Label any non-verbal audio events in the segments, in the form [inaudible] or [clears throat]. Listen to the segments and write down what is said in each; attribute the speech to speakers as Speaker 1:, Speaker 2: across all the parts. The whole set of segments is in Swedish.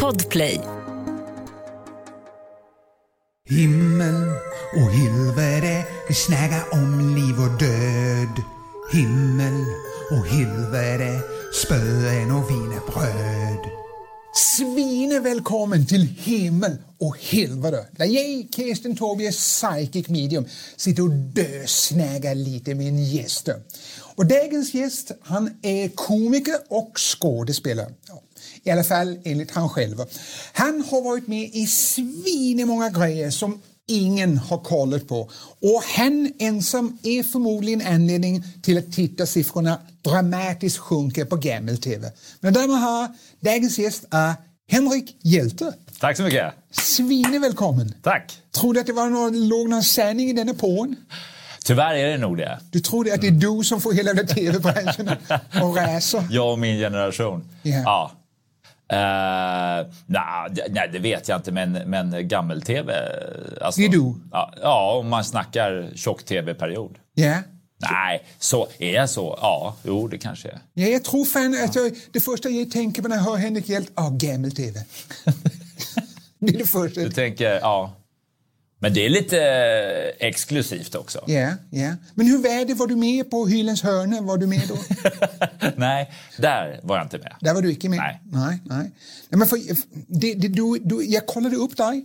Speaker 1: Podplay.
Speaker 2: Himmel och helvete, vi snäga om liv och död. Himmel och helvete, spöen och vinerbröd.
Speaker 3: Svine välkommen till himmel och helvete där jag, Kirsten Tobias psychic medium, sitter och dösnägar lite med en gäst. Och dagens gäst, han är komiker och skådespelare. Ja, I alla fall enligt han själv. Han har varit med i svinemånga grejer som ingen har kollat på. Och han ensam är förmodligen anledningen till att tittarsiffrorna dramatiskt sjunker på gammel-tv. Men där man har dagens gäst är Henrik Hjälte.
Speaker 4: Tack så mycket.
Speaker 3: Svine välkommen!
Speaker 4: Tack.
Speaker 3: Tror du att det var någon, låg någon sanning i denna påen?
Speaker 4: Tyvärr är det nog det.
Speaker 3: Du tror att det är du som får hela den tv-branschen att räsa?
Speaker 4: Jag och min generation.
Speaker 3: Ja.
Speaker 4: Ja. Eh, nej, det- nej, det vet jag inte, men, men gammel-tv... Alltså,
Speaker 3: Det är du.
Speaker 4: Ja, ja, om man snackar tjock-tv-period.
Speaker 3: Ja.
Speaker 4: Nej, så är jag så? Ja, jo, det kanske är.
Speaker 3: ja jag tror fan att jag, det första jag tänker på när jag hör Henrik Hjälte, ah, gammel-tv. [laughs] det är det första.
Speaker 4: Du tänker, ja. Men det är lite eh, exklusivt också.
Speaker 3: Ja, ja. Men hur var det? Var du med på Hyllens hörna? Var du med
Speaker 4: [laughs]
Speaker 3: då?
Speaker 4: Nej, där var jag inte med.
Speaker 3: Där var du icke med?
Speaker 4: Nej.
Speaker 3: Nej, nej. nej men för, det, det, du, du, jag kollade upp dig.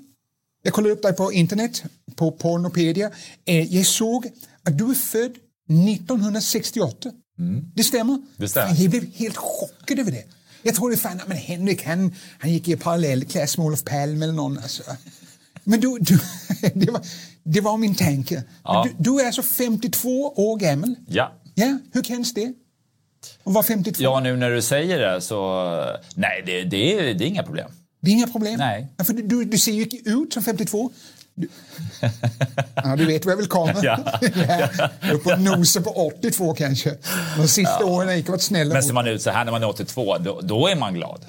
Speaker 3: Jag kollade upp dig på internet, på Pornopedia. Eh, jag såg att du är född 1968. Det stämmer?
Speaker 4: Mm. Det stämmer.
Speaker 3: Fan, Jag blev helt chockad över det. Jag trodde fan, men Henrik han, han gick i parallellklass med Olof Palme eller någon. Alltså. Men du, du, [laughs] det, var, det var min tanke. Men
Speaker 4: Ja.
Speaker 3: Du, du är alltså 52 år gammal.
Speaker 4: Ja.
Speaker 3: Ja, hur känns det? Att vara 52?
Speaker 4: Ja, nu när du säger det så... Nej, det, det, är, det är inga problem.
Speaker 3: Det är inga problem.
Speaker 4: Nej.
Speaker 3: Ja, för du- du, du ser ju inte ut som 52. Du,
Speaker 4: [laughs]
Speaker 3: ja, du vet var jag vill komma.
Speaker 4: Ja.
Speaker 3: [laughs] Ja, Upp och nosa på 82 kanske. De sista åren har jag inte varit snälla
Speaker 4: Men
Speaker 3: mot-
Speaker 4: ser man ut så här när man är 82, då, då är man glad.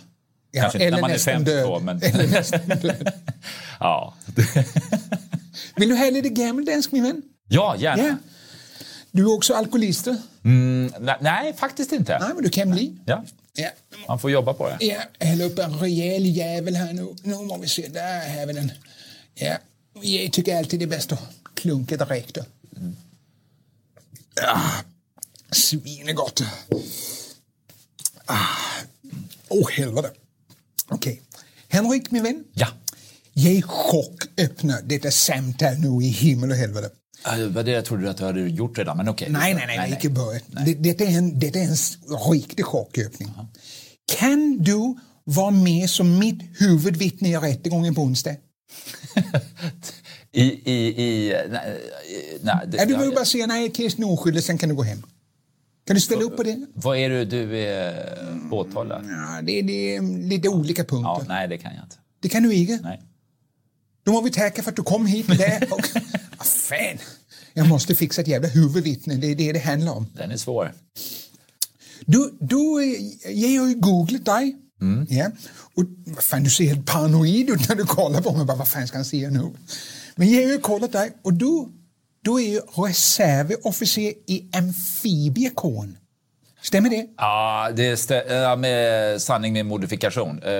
Speaker 3: Ja,
Speaker 4: Kanske inte
Speaker 3: eller
Speaker 4: när man är
Speaker 3: nästan
Speaker 4: 52,
Speaker 3: död.
Speaker 4: men...
Speaker 3: Eller nästan
Speaker 4: [laughs]
Speaker 3: död.
Speaker 4: ja.
Speaker 3: [laughs] Vill du ha lite gammeldansk min vän?
Speaker 4: ja, gärna.
Speaker 3: Ja. Du är också alkoholist. Nej,
Speaker 4: Nej, nej, faktiskt inte.
Speaker 3: men du kan bli.
Speaker 4: Ja,
Speaker 3: Ja.
Speaker 4: man får jobba på det.
Speaker 3: Ja, häll upp en rejäl jävel här nu. Nu må vi se, där har vi den. Ja, jag tycker alltid det är bäst att klunka direkt. då. Ah, svinegott. Åh, ah, oh, helvete. Okej. Henrik, min vän.
Speaker 4: Ja.
Speaker 3: Jag chocköppnar detta samtal nu i himmel och helvete.
Speaker 4: Eh, Vad det jag trodde du att du hade gjort redan, men okej.
Speaker 3: Nej, nej, nej, nej, icke börjat. Det, detta, är en, detta är en s- riktig chocköppning. Kan du vara med som mitt huvudvittne i rättegången på onsdag?
Speaker 4: I, i, i, nej, i- nej, det-
Speaker 3: Är du
Speaker 4: ja,
Speaker 3: behöver
Speaker 4: ja.
Speaker 3: bara säga nej, Kirsten är oskyldig, sen kan du gå hem. Kan du ställa upp på det?
Speaker 4: Vad är det du är åtalad?
Speaker 3: Ja, det, det är lite olika punkter.
Speaker 4: Ja, nej, det kan jag inte.
Speaker 3: Det kan du inte.
Speaker 4: Nej.
Speaker 3: Då må vi tacka för att du kom hit med det.
Speaker 4: [laughs]
Speaker 3: Och, ah, fan! Jag måste fixa ett jävla huvudvittne, det är det det handlar om.
Speaker 4: Den är svår.
Speaker 3: Du, du, eh, jag har ju googlat dig.
Speaker 4: Mm.
Speaker 3: Ja. Och vad fan, du ser helt paranoid ut när du kollar på mig. Bara, vad fan ska han säga nu? Men jag har ju kollat dig och du, du är ju reservofficer i amfibiekåren. Stämmer det?
Speaker 4: Ja, det är stä- ja, med sanning med modifikation. Eh,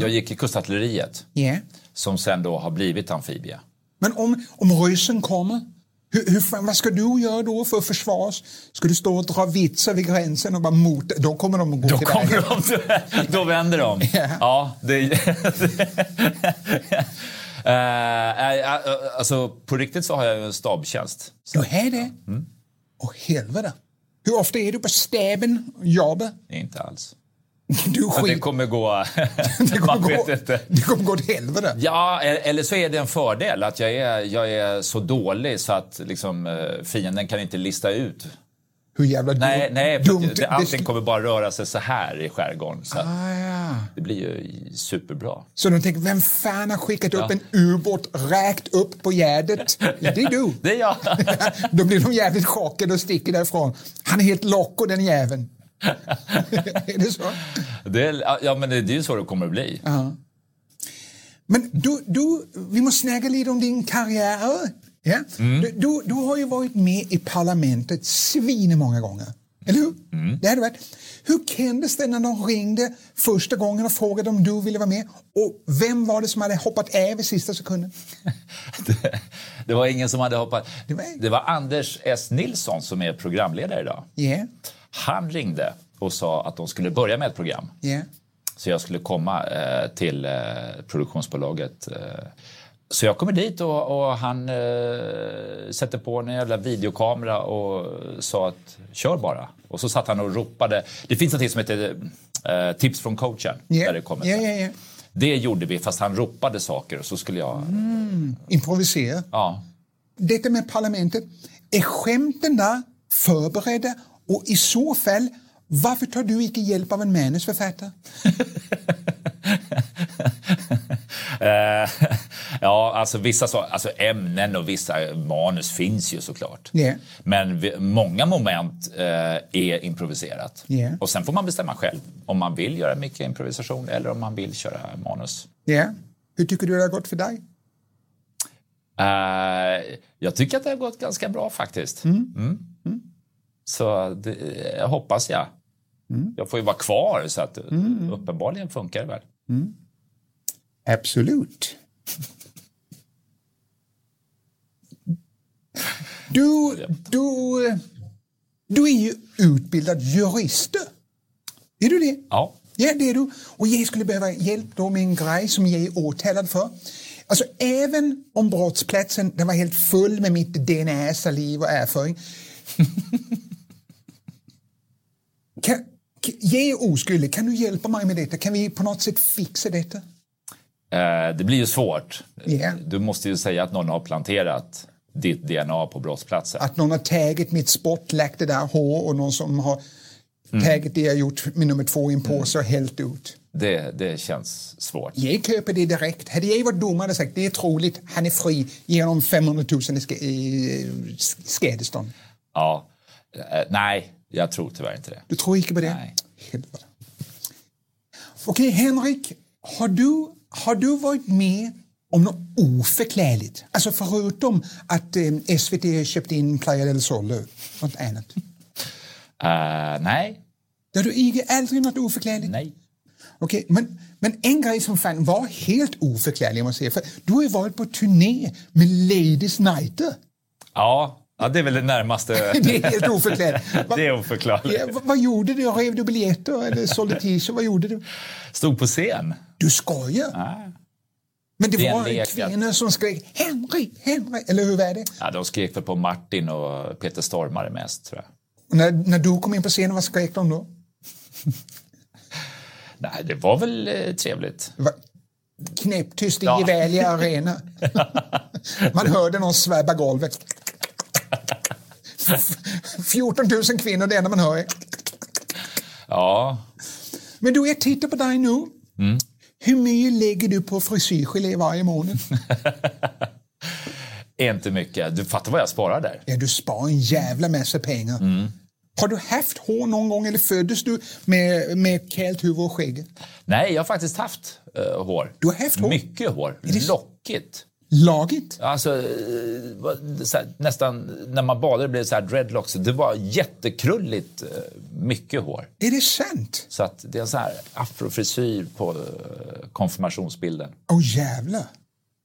Speaker 4: Jag gick i kustartilleriet,
Speaker 3: Ja.
Speaker 4: som sen då har blivit amfibie.
Speaker 3: Men om, om ryssen kommer, hur, hur, fan- vad ska du göra då för att försvara oss? Ska du stå och dra vitsar vid gränsen och bara mota? Då kommer de att gå
Speaker 4: Då
Speaker 3: till
Speaker 4: kommer
Speaker 3: världen.
Speaker 4: de, då vänder de.
Speaker 3: Ja.
Speaker 4: Ja, det... [laughs] Eh, eh, alltså, på riktigt så har jag ju en stabtjänst.
Speaker 3: Du är det?
Speaker 4: Mm.
Speaker 3: Åh helvete. Hur ofta är du på stäben och jobbar?
Speaker 4: Inte alls.
Speaker 3: Du
Speaker 4: Men det
Speaker 3: skit.
Speaker 4: kommer gå...
Speaker 3: [laughs] Det kommer,
Speaker 4: man
Speaker 3: gå,
Speaker 4: vet inte.
Speaker 3: det kommer gå till helvete.
Speaker 4: Ja, e- eller så är det en fördel att jag är, jag är så dålig så att liksom, eh, fienden kan inte lista ut.
Speaker 3: Hur jävla
Speaker 4: Nej,
Speaker 3: dum,
Speaker 4: nej för
Speaker 3: Mm. dumt
Speaker 4: att det, allting
Speaker 3: sk-
Speaker 4: kommer bara röra sig så här i skärgården. Så att
Speaker 3: ah, ja.
Speaker 4: det blir ju superbra.
Speaker 3: Så de tänker, vem fan har skickat upp en ubåt rakt upp på
Speaker 4: [laughs]
Speaker 3: gärdet? Ja, det är du.
Speaker 4: Det är jag!
Speaker 3: [laughs]
Speaker 4: [laughs]
Speaker 3: Då blir de jävligt chockade och sticker därifrån. Han är helt loco den
Speaker 4: [laughs]
Speaker 3: jäveln. [laughs] är det så?
Speaker 4: Det är, ja, men det, det är ju så det kommer att bli.
Speaker 3: Men du, du, vi måste snacka lite om din
Speaker 4: Mm.
Speaker 3: karriär. Ja? Du, du, du har ju varit med i parlamentet svin många gånger. Eller hur?
Speaker 4: Mm.
Speaker 3: Det hade varit. Hur kändes det när de ringde första gången och frågade om du ville vara med? Och vem var det som hade hoppat över sista sekunden?
Speaker 4: Det, det var ingen som hade hoppat.
Speaker 3: Det var-
Speaker 4: Det var Anders S. Nilsson som är programledare idag.
Speaker 3: Yeah,
Speaker 4: Han ringde och sa att de skulle börja med ett program.
Speaker 3: yeah.
Speaker 4: Så jag skulle komma eh, till eh, produktionsbolaget. Eh. Så jag kommer dit och, och han eh, sätter på en jävla videokamera och sa att kör bara. Och så satt han och ropade. Det finns något som heter eh, tips från coachen.
Speaker 3: Yeah.
Speaker 4: Där det, kommer.
Speaker 3: yeah, yeah, yeah.
Speaker 4: det gjorde vi fast han ropade saker och så skulle jag...
Speaker 3: Improvisera.
Speaker 4: Ja.
Speaker 3: detta med parlamentet. Är skämten där förberedda? Och i så fall, varför tar du inte hjälp av en manusförfattare?
Speaker 4: [laughs] Eh, ja, alltså vissa så, alltså ämnen och vissa manus finns ju såklart.
Speaker 3: Ja.
Speaker 4: Men vi, många moment eh, är improviserat.
Speaker 3: Ja.
Speaker 4: Och sen får man bestämma själv om man vill göra mycket improvisation eller om man vill köra manus.
Speaker 3: Ja. Hur tycker du det har gått för dig?
Speaker 4: Eh, jag tycker att det har gått ganska bra faktiskt. Mm. Så det eh, hoppas jag. Jag får ju vara kvar så att uppenbarligen funkar det väl.
Speaker 3: Absolut. Du, du, eh, du är ju utbildad jurist. Är du det?
Speaker 4: Ja.
Speaker 3: Ja, det är du. Och jag skulle behöva hjälp då med en grej som jag är åtalad för. Alltså, även om brottsplatsen den var helt full med mitt DNA, saliv och erfaring. [laughs] kan, kan, jag är oskyldig. Kan du hjälpa mig med detta? Kan vi på något sätt fixa detta?
Speaker 4: Eh, Det blir ju svårt.
Speaker 3: Ja.
Speaker 4: Du måste ju säga att någon har planterat ditt DNA på brottsplatsen.
Speaker 3: Att någon har tagit mitt spott, lagt det där hår och någon som har tagit det jag gjort med nummer två i en påse och hällt ut.
Speaker 4: Det, det känns svårt.
Speaker 3: Jag köper det direkt. Hade jag varit domare hade jag sagt det är troligt, han är fri, ge honom 500 000 i sk- i sk- skadestånd.
Speaker 4: Ja. Eh, Nej, jag tror tyvärr inte det.
Speaker 3: Du tror inte på det?
Speaker 4: Nej.
Speaker 3: Helvete. Okej, Henrik, har du, har du varit med om något oförklarligt? Alltså förutom att eh, SVT köpte in Playa del Sol, något annat.
Speaker 4: Eh, nej,
Speaker 3: Där du inte aldrig något oförklarligt?
Speaker 4: nej.
Speaker 3: Okej, men, men en grej som fan var helt oförklarlig, måste jag säga, för du har ju varit på turné med Ladies Nighter.
Speaker 4: Ja, ja det är väl
Speaker 3: [laughs]
Speaker 4: det närmaste.
Speaker 3: Det är helt oförklarligt. Va-
Speaker 4: det är oförklarligt.
Speaker 3: Ja, va- vad gjorde du? Rev du biljetter eller sålde t-shirts? Vad gjorde du?
Speaker 4: Stod på scen.
Speaker 3: Du skojar? Men det,
Speaker 4: Det är en
Speaker 3: var en
Speaker 4: lek,
Speaker 3: kvinna som skrek Henrik, Henrik, eller hur var det?
Speaker 4: Ja, de skrek väl på Martin och Peter Stormare mest, tror jag.
Speaker 3: Och när, när du kom in på scenen, vad skrek de då?
Speaker 4: Nej, det var väl eh, trevligt.
Speaker 3: Det var knäpptyst i
Speaker 4: Ja.
Speaker 3: Gevalia
Speaker 4: [laughs]
Speaker 3: Arena. Man hörde någon sväbba golvet. 14 000 kvinnor, det enda man hör är...
Speaker 4: Ja,
Speaker 3: Men du, jag tittar på dig nu.
Speaker 4: Mm.
Speaker 3: Hur mycket lägger du på frisyrgelé varje månad?
Speaker 4: inte mycket. Du fattar vad jag sparar där.
Speaker 3: Ja, du sparar en jävla massa pengar.
Speaker 4: Mm.
Speaker 3: Har du haft hår någon gång eller föddes du med, med kallt huvud och skägg?
Speaker 4: Nej, jag har faktiskt haft eh, hår.
Speaker 3: Du har haft hår?
Speaker 4: Mycket hår. Lockigt.
Speaker 3: Lagigt?
Speaker 4: Alltså, eh, vad- så här, nästan när man badade blev det så här dreadlocks. Det var jättekrulligt eh, mycket hår.
Speaker 3: Är det sant?
Speaker 4: Så att det är en så här afrofrisyr på eh, konfirmationsbilden.
Speaker 3: Åh jävlar.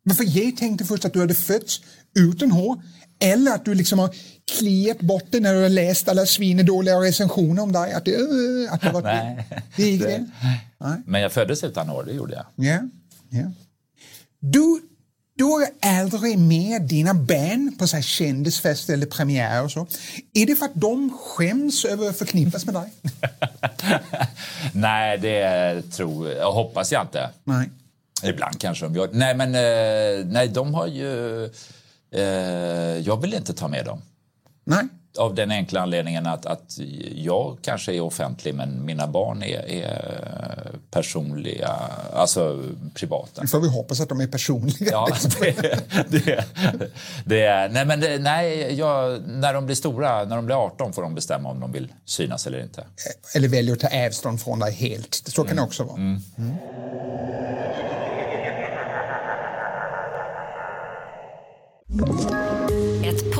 Speaker 3: Men för jag tänkte först att du hade fötts utan hår eller att du liksom har kliat bort det när du har läst alla svinedåliga recensioner om dig. Att det, äh, att det var
Speaker 4: [laughs] Nej.
Speaker 3: Det gick det.
Speaker 4: Men jag föddes utan hår, det gjorde jag.
Speaker 3: Ja. ja. Du, du är aldrig med dina band på så här kändisfester eller premiärer och så. Är det för att de skäms över att förknippas med dig?
Speaker 4: Nej, det tror jag hoppas jag inte.
Speaker 3: Nej.
Speaker 4: Ibland kanske de gör Nej, men eh, nej, de har ju... Eh, jag vill inte ta med dem.
Speaker 3: Nej.
Speaker 4: Av den enkla anledningen att, att jag kanske är offentlig men mina barn är, är personliga, alltså
Speaker 3: [laughs]
Speaker 4: privata.
Speaker 3: Nu får vi hoppas att de är personliga.
Speaker 4: Ja, det, det, det, är- nej, men det, nej jag, när de blir stora, när de blir 18 får de bestämma om de vill synas eller inte.
Speaker 3: Eller väljer att ta avstånd från dig helt. Så kan det också vara.
Speaker 1: Ett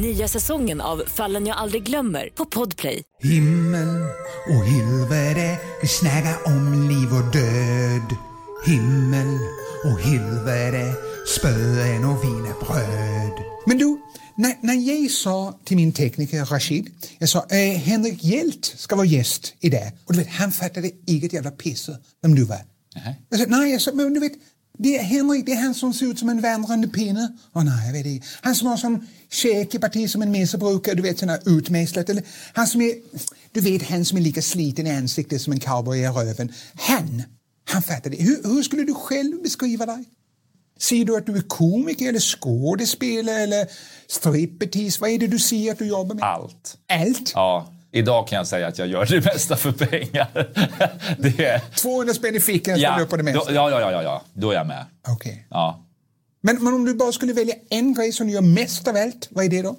Speaker 1: Nya säsongen av Fallen jag aldrig glömmer på Podplay.
Speaker 2: Himmel och helvete, vi snackar om liv och död. Himmel och helvete, spöen och wienerbröd.
Speaker 3: Men du, när, när jag sa till min tekniker Rashid, jag sa eh, Henrik Hjelt ska vara gäst idag. Och du vet, han fattade inget jävla pisse vem du var. Jag sa, nej, jag sa, men du vet, det är Henrik, det är han som ser ut som en vandrande pinne. Åh nej, jag vet inte. Han som har som käk i parti som en misse brukar, du vet sån här utmejslat. Eller han som är, du vet han som är lika sliten i ansiktet som en cowboy i röven. Han, han fattade. Hur, hur skulle du själv beskriva dig? Säger du att du är komiker eller skådespelare eller strippetis? Vad är det du säger att du jobbar med?
Speaker 4: Allt.
Speaker 3: Allt?
Speaker 4: Ja, idag kan jag säga att jag gör det mesta för pengar. [laughs] det är,
Speaker 3: 200 spänn i fickan ställer
Speaker 4: ja,
Speaker 3: upp på det
Speaker 4: då,
Speaker 3: mesta?
Speaker 4: ja, ja, ja, ja, ja, då är jag med.
Speaker 3: Okej.
Speaker 4: Ja.
Speaker 3: Men, men om du bara skulle välja en grej som du gör mest av allt, vad är det då?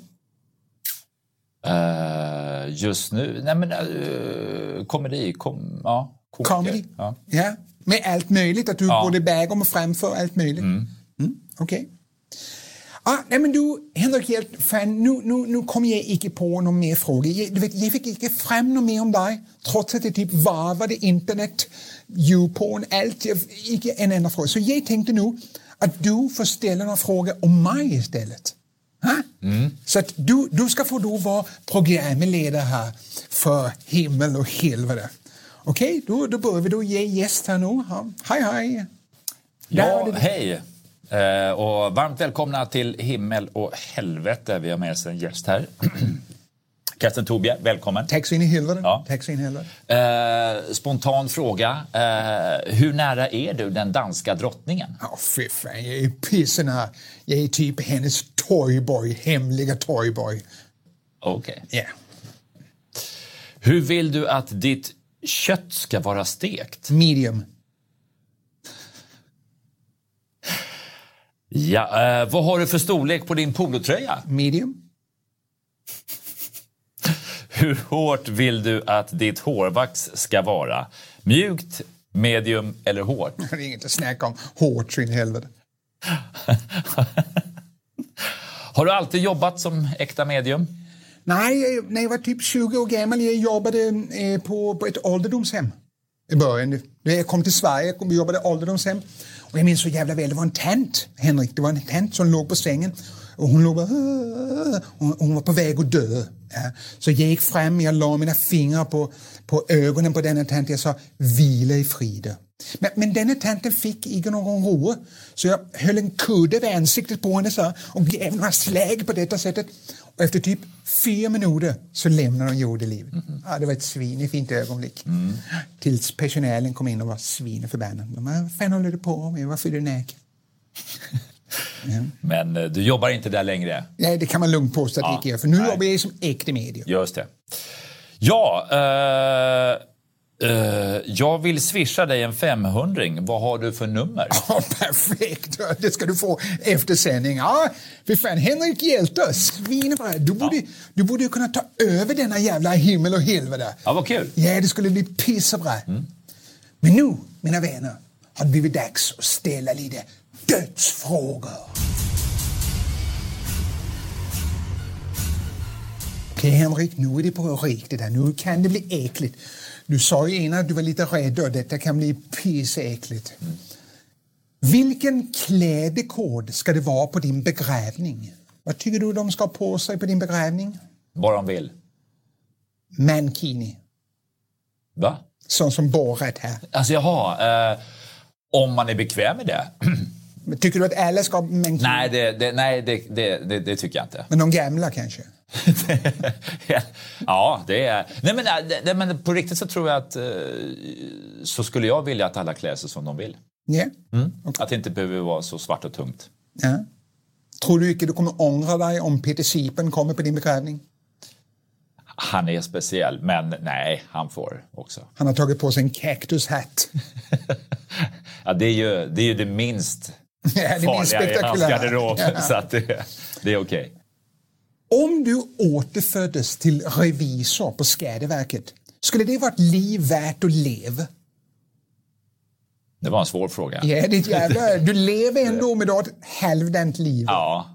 Speaker 4: Eh, just nu? Nej, men eh, komedi. Kom, ja, komiker.
Speaker 3: Comedy?
Speaker 4: Ja.
Speaker 3: Ja, Med allt möjligt, att du
Speaker 4: Ja.
Speaker 3: både bakom och framför allt möjligt? Mm. Okej. Ah, nej men du, Henrik Hjelt, fan, nu, nu, nu kommer jag inte på någon mer fråga. Jag, du vet, jag fick inte fram något mer om dig, trots att det typ varvade internet, YouPorn, allt. Jag, inte en enda fråga. Så jag tänkte nu att du får ställa några frågor om mig istället. Ha? Så att du, du ska få då vara programledare här för himmel och helvete. Okej, då, då börjar vi då ge gäst här nu. Ja. Hej, hej! Där
Speaker 4: Ja,
Speaker 3: har du-
Speaker 4: hej! Eh, och varmt välkomna till Himmel och helvete. Vi har med oss en gäst här. [clears throat] Karsten Tobia, välkommen.
Speaker 3: Tack så in i helvete.
Speaker 4: Ja.
Speaker 3: Tack så in i helvete.
Speaker 4: Eh, spontan fråga. Eh, hur nära är du den danska drottningen?
Speaker 3: Ja, fy fan, jag är pissen här. Jag är typ hennes toyboy, hemliga toyboy.
Speaker 4: Okej.
Speaker 3: Ja.
Speaker 4: Hur vill du att ditt kött ska vara stekt?
Speaker 3: Medium.
Speaker 4: Ja, eh, vad har du för storlek på din polotröja?
Speaker 3: Medium. [laughs]
Speaker 4: Hur hårt vill du att ditt hårvax ska vara? Mjukt, medium eller hårt?
Speaker 3: Det är inget att snacka om. Hårt så in i helvete.
Speaker 4: Har du alltid jobbat som äkta medium?
Speaker 3: Nej, jag- när jag var typ 20 år gammal jag jobbade eh, på, på ett ålderdomshem i början. När jag kom till Sverige kom- vi jobbade ålderdomshem. Och jag minns så jävla väl, det var en tant, Henrik, det var en tant som låg på sängen och hon låg bara, "Åh", hon, hon var på väg att dö. Ja. Så jag gick fram, jag la mina fingrar på, på ögonen på denna tant jag sa vila i frid. Men, men denna tanten fick inte någon ro så jag höll en kudde vid ansiktet på henne så här, och gav några slag på detta sättet. Och efter typ fyra minuter så lämnade hon jordelivet. Ja, det var ett svinefint ögonblick.
Speaker 4: Mm.
Speaker 3: Tills personalen kom in och var svineförbannad. De bara, Vad fan håller du på med? Varför är du näk?
Speaker 4: Men eh, du jobbar inte där längre.
Speaker 3: Nej, det kan man lugnt påstå att det inte gör, för nu
Speaker 4: nej.
Speaker 3: jobbar jag som äkta medier.
Speaker 4: Just det. Ja, eh, eh, jag vill swisha dig en 500 Vad har du för nummer?
Speaker 3: Ja, [laughs] perfekt! Det ska du få efter sändning. Ja, för fan, Henrik Hjälte, svinebra. Du borde, du borde ju kunna ta över denna jävla himmel och helvete.
Speaker 4: Ja, vad kul.
Speaker 3: Ja, det skulle bli pissebra. Men nu, mina vänner, har det blivit dags att ställa lite dödsfrågor. Okej, Henrik, nu är det på riktigt här. Nu kan det bli äckligt. Du sa ju innan att du var lite rädd och detta kan bli pissäckligt. Vilken klädekod ska det vara på din begravning? Vad tycker du de ska ha på sig på din begravning?
Speaker 4: Vad de vill.
Speaker 3: Mankini,
Speaker 4: Va?
Speaker 3: sån som Borat här.
Speaker 4: Alltså, jaha. Eh, om man är bekväm med det? [clears throat]
Speaker 3: Men tycker du att alla ska ha mankini?
Speaker 4: nej, det, det, nej det, det, det, det tycker jag inte.
Speaker 3: Men de gamla kanske?
Speaker 4: [laughs] ja, det är... Nej men, eh, det, det, men på riktigt så tror jag att eh, så skulle jag vilja att alla klär sig som de vill.
Speaker 3: Ja.
Speaker 4: Att det inte behöver vara så svart och tungt.
Speaker 3: ja. Tror du inte du kommer ångra dig om Peter Sipen kommer på din begravning?
Speaker 4: Han är speciell, men nej, han får också. [laughs]
Speaker 3: Han har tagit på sig en [laughs] cactus-hat.
Speaker 4: ja, det, är ju, det är ju det minst
Speaker 3: Äh, det är minst
Speaker 4: farliga i hans
Speaker 3: spektakulära.
Speaker 4: garderob,
Speaker 3: Ja.
Speaker 4: [laughs] så att det, det är okej.
Speaker 3: Om du återföddes till revisor på Skatteverket, skulle det vara ett liv värt att leva?
Speaker 4: Det var en svår fråga.
Speaker 3: Ja, ditt
Speaker 4: [laughs]
Speaker 3: jävla... Du lever ändå med ett halvdant liv.
Speaker 4: Ja.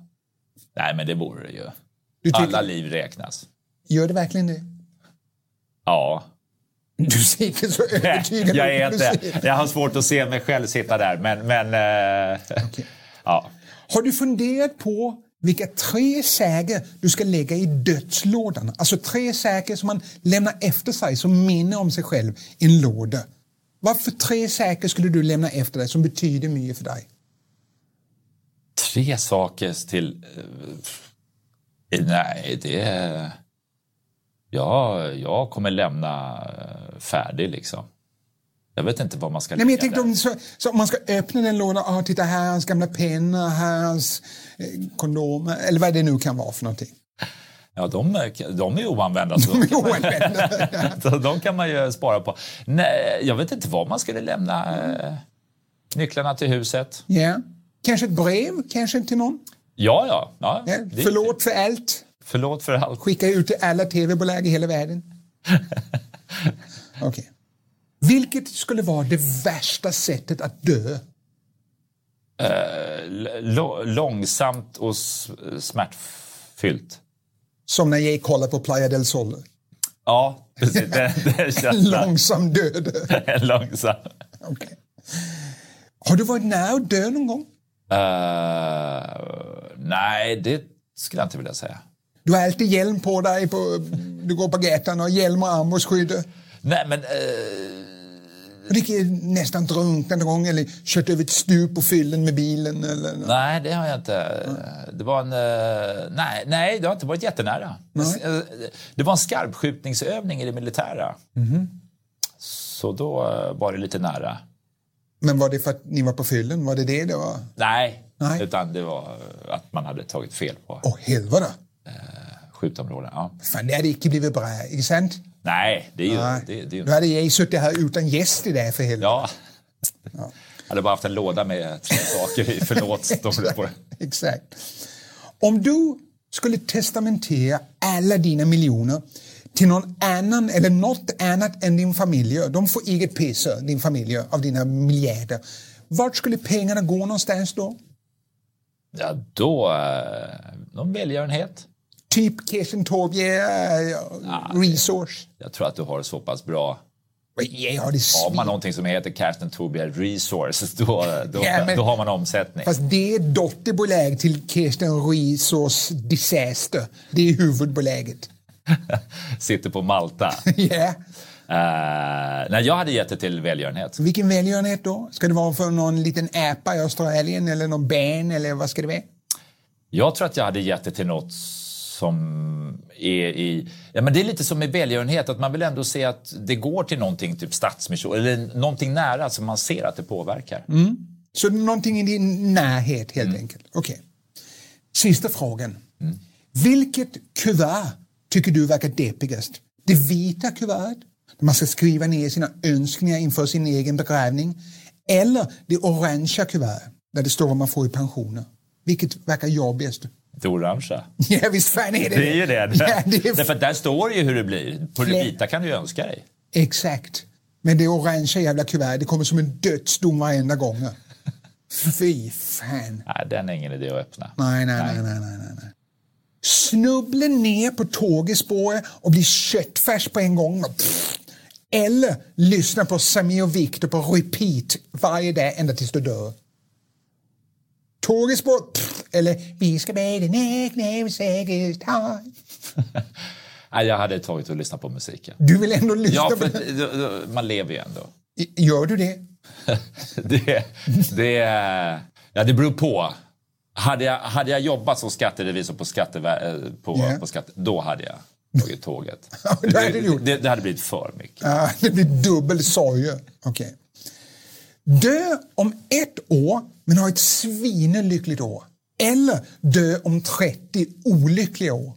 Speaker 4: Nej, men det borde det ju.
Speaker 3: Du tycker-
Speaker 4: Alla liv räknas.
Speaker 3: Gör det verkligen det?
Speaker 4: Ja.
Speaker 3: Du ser inte så
Speaker 4: Nej,
Speaker 3: övertygad
Speaker 4: jag,
Speaker 3: ut
Speaker 4: är
Speaker 3: när du
Speaker 4: inte,
Speaker 3: säger det.
Speaker 4: jag har svårt att se mig själv sitta där, men... men eh, [laughs] ja.
Speaker 3: Har du funderat på vilka tre säker du ska lägga i dödslådan? Alltså tre säker som man lämnar efter sig som minne om sig själv i en låda. Varför tre säker skulle du lämna efter dig som betyder mycket för dig?
Speaker 4: Tre saker till... eh, nej, det... är- Ja, jag kommer lämna eh, färdig, liksom. Jag vet inte vad man ska
Speaker 3: Nej, men jag
Speaker 4: lägga
Speaker 3: tänkte
Speaker 4: där.
Speaker 3: om, så, så om man ska öppna den lådan, ah, titta här, hans gamla penna, här, hans eh, kondomer eller vad det nu kan vara för någonting.
Speaker 4: Ja, de, är- de är oanvända. Så de,
Speaker 3: Jo, en penna.
Speaker 4: [laughs] så de kan man ju spara på. Nej, jag vet inte vad man skulle lämna. eh, Nycklarna till huset.
Speaker 3: Ja. Kanske ett brev, kanske till någon.
Speaker 4: Ja, ja. ja,
Speaker 3: Ja.
Speaker 4: det-
Speaker 3: Förlåt för allt.
Speaker 4: förlåt för allt.
Speaker 3: Skicka ut till alla tv-bolag i hela världen. Okej. Vilket skulle vara det värsta sättet att dö?
Speaker 4: L- Eh, långsamt och s- smärtfyllt.
Speaker 3: Som när jag kollar på Playa del Sol.
Speaker 4: Ja, precis. Det, det känns [laughs]
Speaker 3: Långsam död. [laughs]
Speaker 4: långsam.
Speaker 3: Okej. Har du varit nära att dö någon gång?
Speaker 4: Eh, nej, det skulle jag inte vilja säga.
Speaker 3: Du har alltid hjälm på dig. På, du går på gatan och hjälm och armborstsskydd.
Speaker 4: Nej, men eh,
Speaker 3: Har Du gick nästan drunknat någon gång eller kört över ett stup på fyllen med bilen. Eller,
Speaker 4: nej, det har jag inte. Det var en... eh, nej, nej, det har inte varit jättenära. Eh, Det var en skarpskjutningsövning i det militära. Mhm. Så då eh, var det lite nära.
Speaker 3: Men var det för att ni var på fyllen? Var det det det var?
Speaker 4: Nej,
Speaker 3: Nej.
Speaker 4: utan det var att man hade tagit fel på
Speaker 3: Åh, helvete.
Speaker 4: skjutområden. Ja.
Speaker 3: Fan, det hade inte blivit bra, inte sant?
Speaker 4: Nej, det är ju...
Speaker 3: Nej.
Speaker 4: Det, det är ju
Speaker 3: Då hade jag suttit här utan gäst i det här för helvete.
Speaker 4: Ja. Jag hade bara haft en låda med tre saker
Speaker 3: [laughs]
Speaker 4: i. Förlåt, står det på det.
Speaker 3: Exakt. Om du skulle testamentera alla dina miljoner till någon annan eller något annat än din familj. De får eget pisse, din familj, av dina miljarder. Vart skulle pengarna gå någonstans då?
Speaker 4: Ja, då... eh, Någon välgörenhet.
Speaker 3: Typ Kirsten Torbje eh, Resource?
Speaker 4: Jag tror att du har så pass bra...
Speaker 3: Jag har det
Speaker 4: Har man
Speaker 3: svin.
Speaker 4: någonting som heter Carsten Torbjer Resources, [laughs] då, då,
Speaker 3: Ja, men-
Speaker 4: då har man omsättning.
Speaker 3: Fast det är dotterbolag till Kirsten Resource Disaster. Det är huvudbolaget. [laughs]
Speaker 4: Sitter på Malta.
Speaker 3: Ja.
Speaker 4: Eh, nej, jag hade gett det till välgörenhet.
Speaker 3: Vilken välgörenhet då? Ska det vara för någon liten apa i Australien eller någon band eller vad ska det vara?
Speaker 4: Jag tror att jag hade gett det till något som är i... Ja, men det är lite som med välgörenhet, att man vill ändå se att det går till någonting, typ stadsmission, eller någonting nära som man ser att det påverkar.
Speaker 3: Så någonting i din närhet helt
Speaker 4: Mm.
Speaker 3: enkelt. Okej. Sista frågan. Vilket kuvert tycker du verkar deppigast? Det vita kuvertet, där man ska skriva ner sina önskningar inför sin egen begravning. Eller det orangea kuvertet, där det står vad man får i pensioner. Vilket verkar jobbigast? [laughs]
Speaker 4: Det orangea.
Speaker 3: Ja, visst fan är det
Speaker 4: Det är [laughs] ju det.
Speaker 3: Ja, det är
Speaker 4: Därför att där står det ju hur det blir. På det
Speaker 3: Fler-
Speaker 4: vita kan du ju önska dig.
Speaker 3: Exakt. Men det orangea jävla kuvertet, det kommer som en dödsdom varenda gång. Fy fan.
Speaker 4: Nej, den är ingen idé att öppna.
Speaker 3: Nej, nej, nej, nej, nej, nej. nej. Snubbla ner på tågespåret och bli köttfärs på en gång. Pff. Eller lyssna på Samir och Viktor på repeat varje dag ända tills du dör. Tågespår pff, eller Vi ska med en ägna säkert
Speaker 4: Nej, jag hade tagit och lyssnat på musiken.
Speaker 3: Du vill ändå lyssna
Speaker 4: Ja,
Speaker 3: på
Speaker 4: för att- då- då- man lever ju ändå.
Speaker 3: Gör du det?
Speaker 4: Det, det, ja, det beror på. Hade jag, hade jag jobbat som skatterevisor på, skattever- eh, på,
Speaker 3: Ja.
Speaker 4: på skatte, då hade jag tagit tåget.
Speaker 3: [laughs] Ja, det hade du
Speaker 4: det,
Speaker 3: gjort.
Speaker 4: det, det hade blivit för mycket.
Speaker 3: Ah, det blir dubbel sorg. Okej. Dö om ett år, men ha ett svinelyckligt år. Eller dö om 30 olyckliga år.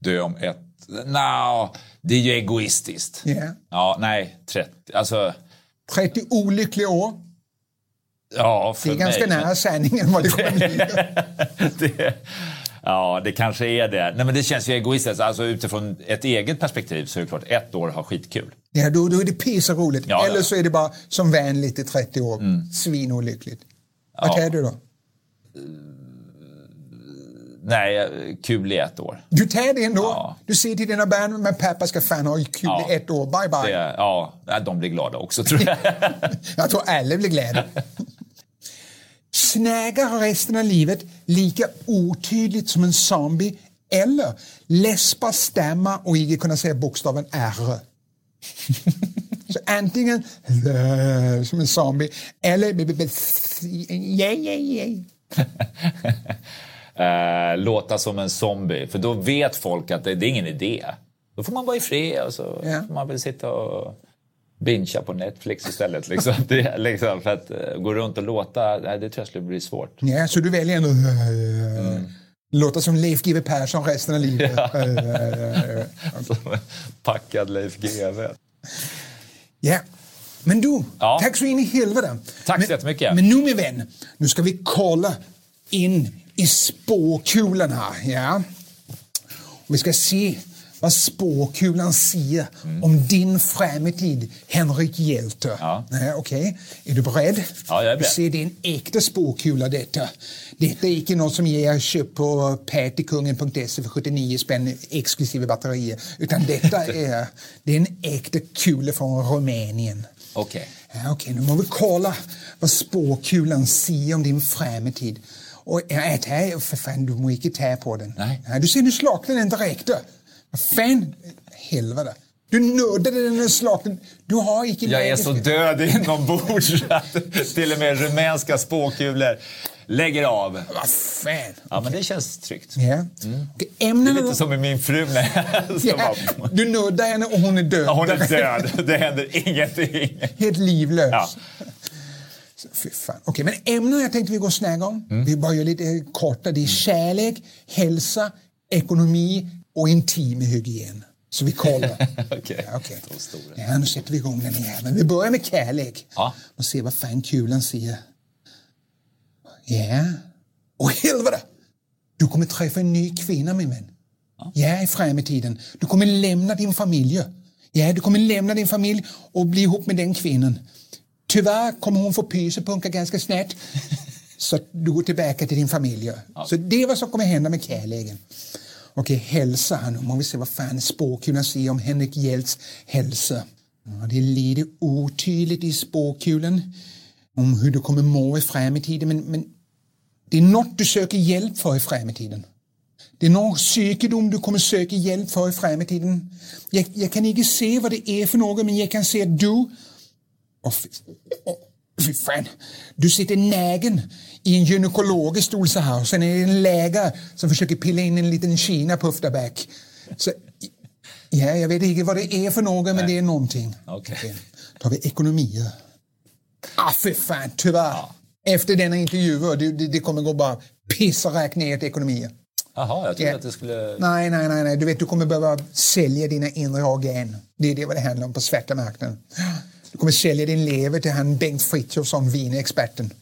Speaker 4: Dö om ett Nja, det är ju egoistiskt.
Speaker 3: Ja.
Speaker 4: Ja, nej, 30. Alltså,
Speaker 3: 30 olyckliga år.
Speaker 4: ja, för
Speaker 3: Det är ganska
Speaker 4: mig. men-
Speaker 3: nära sanningen vad det kommer bli.
Speaker 4: [laughs] det, ja, det kanske är det. Nej, men det känns ju egoistiskt. Alltså, utifrån ett eget perspektiv så är det klart, ett år har skitkul.
Speaker 3: Ja, då, då är det pisa roligt.
Speaker 4: Ja, ja.
Speaker 3: Eller så är det bara som vänligt i 30 år. Svinolyckligt. Vad
Speaker 4: Ja.
Speaker 3: är du då?
Speaker 4: Nej, kul i ett år.
Speaker 3: Du tar det ändå.
Speaker 4: Ja.
Speaker 3: Du ser till dina barn, men pappa ska fan ha kul
Speaker 4: Ja.
Speaker 3: i ett år. Bye bye.
Speaker 4: Det, ja, de blir glada också tror jag.
Speaker 3: [laughs] Jag tror alla blir glada. Snägar resten av livet lika otydligt som en zombie eller läspa, stämma och inte kunna säga bokstaven R. Så antingen lä- som en zombie eller b- b- b- yeah, yeah, yeah.
Speaker 4: Eh, låta som en zombie, för då vet folk att det, det är ingen idé. Då får man vara i fred och så
Speaker 3: Ja.
Speaker 4: får man väl sitta och bingea på Netflix istället. Liksom. [laughs] Det, är liksom, för att eh, gå runt och låta, nej, det tror jag skulle
Speaker 3: [laughs]
Speaker 4: bli svårt.
Speaker 3: Ja, så du väljer ändå låta som Leif GW Persson resten av livet.
Speaker 4: Som en Alltså, Packad Leif GW.
Speaker 3: Ja. Men du,
Speaker 4: Ja.
Speaker 3: tack så in i helvete.
Speaker 4: Tack så
Speaker 3: men,
Speaker 4: jättemycket.
Speaker 3: Men nu min vän, nu ska vi kolla in i spåkulan här. Ja. Och vi ska se vad spåkulan säger om din framtid, Henrik Hjelte.
Speaker 4: Mm. Ja.
Speaker 3: Nej, Okej, är du beredd?
Speaker 4: Ja, jag
Speaker 3: Du
Speaker 4: är beredd.
Speaker 3: ser, det är en äkta spåkula detta. Detta är inte något som jag köpt på patykungen.se för 79 spänn exklusive batterier, utan
Speaker 4: [laughs]
Speaker 3: detta är, det är en äkta kula från Rumänien.
Speaker 4: Okej.
Speaker 3: Ja, Okej, nu må vi kolla vad spåkulan säger om din framtid. Och nej, det här, är- för fan, du må inte ta på den.
Speaker 4: Nej.
Speaker 3: du ser, nu slaknade den direkt. då. Vad fan, helvete. Du nördade den och slaknade. Du har inte
Speaker 4: Jag är
Speaker 3: läget.
Speaker 4: så död inombords [laughs] att till och med rumänska spåkulor lägger av.
Speaker 3: Vad fan.
Speaker 4: Ja, men det känns tryggt.
Speaker 3: Ja. Okej, ämnena
Speaker 4: Mm. Lite som med min fru. när- [laughs] som
Speaker 3: Ja,
Speaker 4: bara-
Speaker 3: Du nuddar henne och hon är död.
Speaker 4: Hon
Speaker 3: [laughs]
Speaker 4: är död. Det händer ingenting.
Speaker 3: Helt livlös.
Speaker 4: Ja.
Speaker 3: Fy fan. Okej, men ämnen jag tänkte vi går och snacka om.
Speaker 4: Mm.
Speaker 3: Vi börjar lite eh, korta. Det är kärlek, hälsa, ekonomi och intim hygien. Så vi kollar.
Speaker 4: [laughs] Okej.
Speaker 3: Ja, Okej. Ja, nu sätter vi igång den igen. Men vi börjar med kärlek.
Speaker 4: Ja.
Speaker 3: Och ser vad fan kulan säger. Ja. Och helvete! Du kommer träffa en ny kvinna min vän. Ja, i framtiden. Du kommer lämna din familj. Ja, du kommer lämna din familj och bli ihop med den kvinnan. Tyvärr kommer hon få pysepunka ganska snart. Så att du går tillbaka till din familj. Så det är vad som kommer hända med kärleken. Okej, hälsa här nu. Må vi se vad fan spåkulan säger om Henrik Hjelts hälsa. Ja, det är lite otydligt i spåkulan om hur du kommer må i framtiden. Men, men det är något du söker hjälp för i framtiden. Det är någon psykedom du kommer söka hjälp för i framtiden. Jag, jag kan inte se vad det är för något, men jag kan se att du... Åh, fy, åh, fy fan. Du sitter nägen i en gynekologisk stol så här och sen är det en läkare som försöker pilla in en liten kinapuff där bak. Så, ja, jag vet inte vad det är för något, men det är någonting.
Speaker 4: Okej.
Speaker 3: Då tar vi ekonomi. Ah, för fan, tyvärr. Efter denna intervju, det, det, det kommer gå bara piss och räkna ner till ekonomi.
Speaker 4: Jaha, jag trodde
Speaker 3: Ja.
Speaker 4: att det skulle...
Speaker 3: Nej, nej, nej, nej. Du vet, du kommer behöva sälja dina inre organ. Det är det vad det handlar om på svarta marknaden. Du kommer sälja din lever till han Bengt Frithiofsson, vinexperten.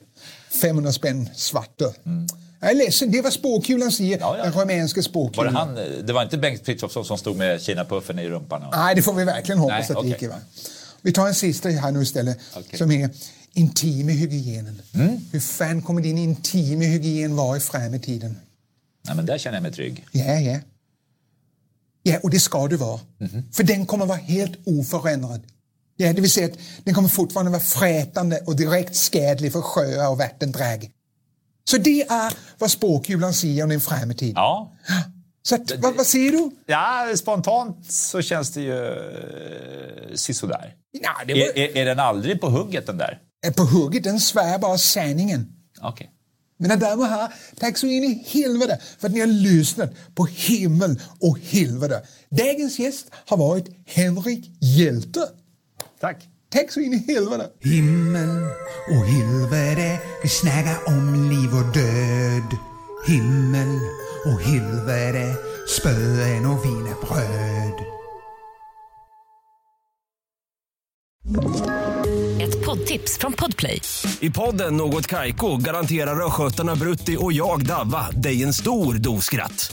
Speaker 3: 500 spänn svart. Mm. Jag är ledsen, det var spåkulan säger,
Speaker 4: Ja, ja.
Speaker 3: den rumänska
Speaker 4: Var det,
Speaker 3: spåkulan.
Speaker 4: han, det var inte Bengt Frithiofsson som stod med kinapuffen i rumpan? Och...
Speaker 3: Nej, det får vi verkligen hoppas
Speaker 4: Nej,
Speaker 3: att det
Speaker 4: okej.
Speaker 3: icke var. Vi tar en sista här nu istället
Speaker 4: Okej. Mm.
Speaker 3: som är intim i hygienen. Hur fan kommer din intim i hygien vara i framtiden?
Speaker 4: Nej, men där känner jag mig trygg.
Speaker 3: Ja, ja. Ja, och det ska du vara.
Speaker 4: Mhm.
Speaker 3: För den kommer vara helt oförändrad. Ja, det vill säga att den kommer fortfarande vara frätande och direkt skadlig för sjöar och vattendrag. Så det är vad spåkulan säger om din framtid.
Speaker 4: Ja.
Speaker 3: Så att, vad, vad säger du?
Speaker 4: ja, spontant så känns det ju eh, sisådär.
Speaker 3: Ja, det var...
Speaker 4: Är, är, är den aldrig på hugget den där?
Speaker 3: är på hugget, den svär bara sanningen.
Speaker 4: Okej.
Speaker 3: Mina damer och herrar, tack så in i helvete för att ni har lyssnat på Himmel och helvete. Dagens gäst har varit Henrik Hjälte.
Speaker 4: Tack.
Speaker 3: Tack så in i helvete.
Speaker 2: Himmel och helvete, vi snackar om liv och död. Himmel och helvete, spöen och wienerbröd.
Speaker 1: Ett poddtips från Podplay.
Speaker 5: I podden Något Kaiko garanterar östgötarna Brutti och jag, Davva, dig en stor dos skratt.